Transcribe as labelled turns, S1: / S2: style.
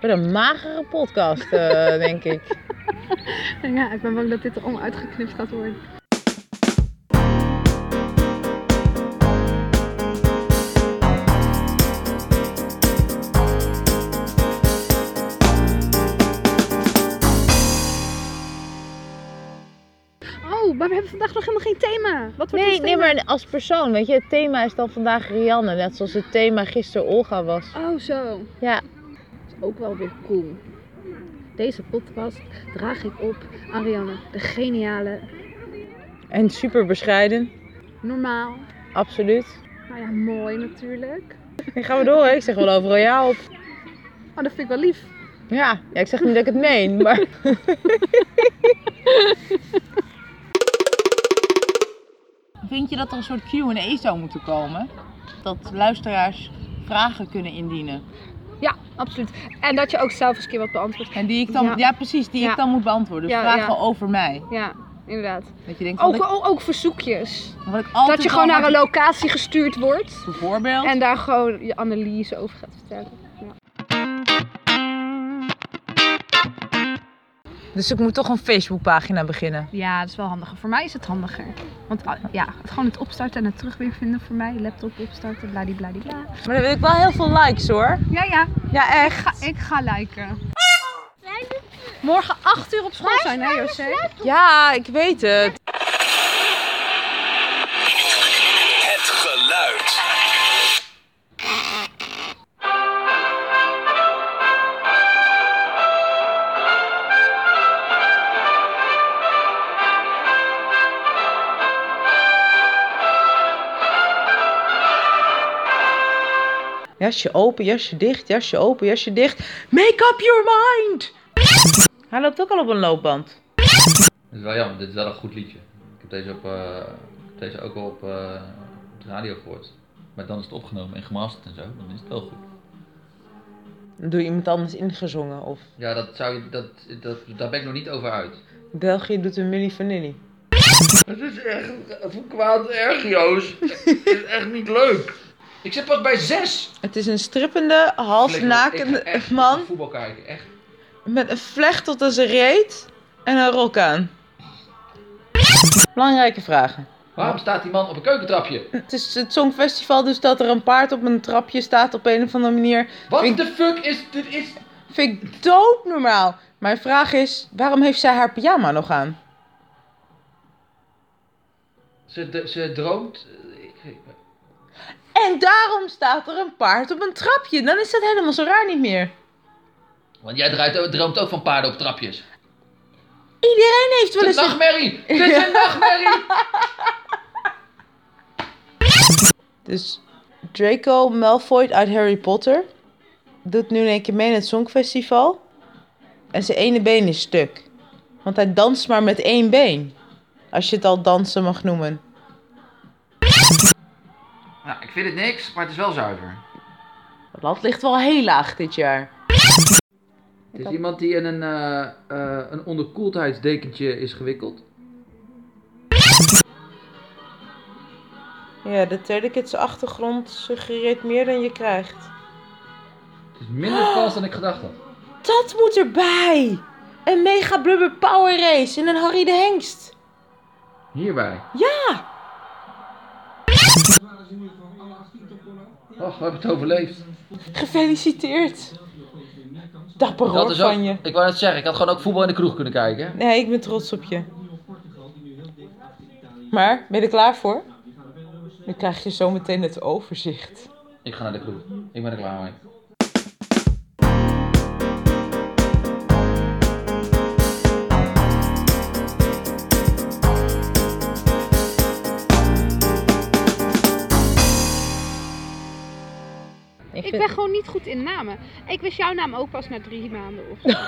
S1: Wat een magere podcast, eh, denk ik.
S2: Ja, ik ben bang dat dit erom uitgeknipt gaat worden. Oh, Oh, maar we hebben vandaag nog helemaal geen thema. Wat wordt ons
S1: Nee,
S2: thema?
S1: nee, maar als persoon, weet je, het thema is dan vandaag Rianne, net zoals het thema gisteren Olga was.
S2: Oh, zo.
S1: Ja.
S2: Dat is ook wel weer cool. Deze podcast draag ik op aan Rianne, de geniale,
S1: En super bescheiden,
S2: normaal,
S1: absoluut.
S2: nou ja, mooi natuurlijk.
S1: Nu gaan we door, hè? ik zeg wel overal ja op.
S2: Oh, dat vind ik wel lief.
S1: Ja, ja, ik zeg niet dat ik het meen, maar... Vind je dat er een soort Q&A zou moeten komen? Dat luisteraars vragen kunnen indienen.
S2: Ja, absoluut. En dat je ook zelf eens een keer wat beantwoordt.
S1: En die ik
S2: dan- Ja.
S1: precies, die
S2: ik Ja.
S1: dan moet beantwoorden. Dus
S2: Ja, Vragen ja.
S1: over mij.
S2: Ja, inderdaad.
S1: Dat je denkt,
S2: Ook, ook, ook verzoekjes.
S1: wat ik
S2: Dat je gewoon naar een locatie gestuurd wordt
S1: Bijvoorbeeld.
S2: en daar gewoon je analyse over gaat vertellen.
S1: Dus ik moet toch een Facebookpagina beginnen.
S2: Ja, dat is wel handiger. Voor mij is het handiger. Want ah, ja, het gewoon het opstarten en het terug weer vinden voor mij. Laptop opstarten, bladibladibla.
S1: Maar dan wil ik wel heel veel likes hoor.
S2: Ja, ja,
S1: Ja, echt.
S2: ga, ik ga liken. Morgen 8 uur op school zijn, hè, José?
S1: Ja, ik weet het.
S3: Het geluid.
S1: Jasje open, jasje dicht, jasje open, jasje dicht. Make up your mind! Hij loopt ook al op een loopband.
S4: Het is wel jammer, dit is wel een goed liedje. Ik heb deze, op, eh, ik heb deze ook al op, eh, op de radio gehoord. Maar dan is het opgenomen en gemasterd en zo, dan is het wel goed.
S1: Dan Doe je iemand anders ingezongen of...
S4: Ja, dat zou je, dat, dat, daar ben ik nog niet over uit.
S1: België doet een Milli Vanilli.
S4: Het is echt voor kwaad erg, Joost. Het is echt niet leuk. Ik zit pas bij zes.
S1: Het is een strippende, halsnakende man
S4: voetbal kijken, echt.
S1: met een vlecht tot aan zijn reet en een rok aan. Belangrijke vragen.
S4: Waarom staat die man op een keukentrapje?
S1: Het is het Songfestival, dus dat er een paard op een trapje staat op een of andere manier.
S4: Wat
S1: Ik-
S4: de fuck is dit? Is...
S1: Vind ik doodnormaal. Mijn vraag is, waarom heeft zij haar pyjama nog aan?
S4: Ze, d- ze droomt. eh, ik- ik-
S1: En daarom staat er een paard op een trapje. Dan is dat helemaal zo raar niet meer.
S4: Want jij draait, droomt ook van paarden op trapjes.
S1: Iedereen heeft wel
S4: Het is
S1: eens
S4: een
S1: een...
S4: nachtmerrie! Dit is een nachtmerrie!
S1: Dus Draco Malfoy uit Harry Potter doet nu in één keer mee in het Songfestival. En zijn ene been is stuk. Want hij danst maar met één been. Als je het al dansen mag noemen.
S4: Nou, ik vind het niks, maar het is wel zuiver.
S1: Het land ligt wel heel laag dit jaar.
S4: Het is iemand die in een, eh, eh, een onderkoeldheidsdekentje is gewikkeld.
S1: Ja, de telekids achtergrond suggereert meer dan je krijgt.
S4: Het is minder
S1: Oh!
S4: vals dan ik gedacht had.
S1: Dat moet erbij! Een mega blubber power race in een Harry de Hengst.
S4: Hierbij.
S1: Ja!
S4: Oh, we hebben het overleefd.
S1: Gefeliciteerd! Dapper hoor van je.
S4: Ik wou net zeggen, ik had gewoon ook voetbal in de kroeg kunnen kijken.
S1: Nee, ik ben trots op je. Maar, ben je er klaar voor? Dan krijg je zo meteen het overzicht.
S4: Ik ga naar de kroeg. Ik ben er klaar mee.
S2: Ik ben gewoon niet goed in namen. Ik wist jouw naam ook pas na drie maanden of zo.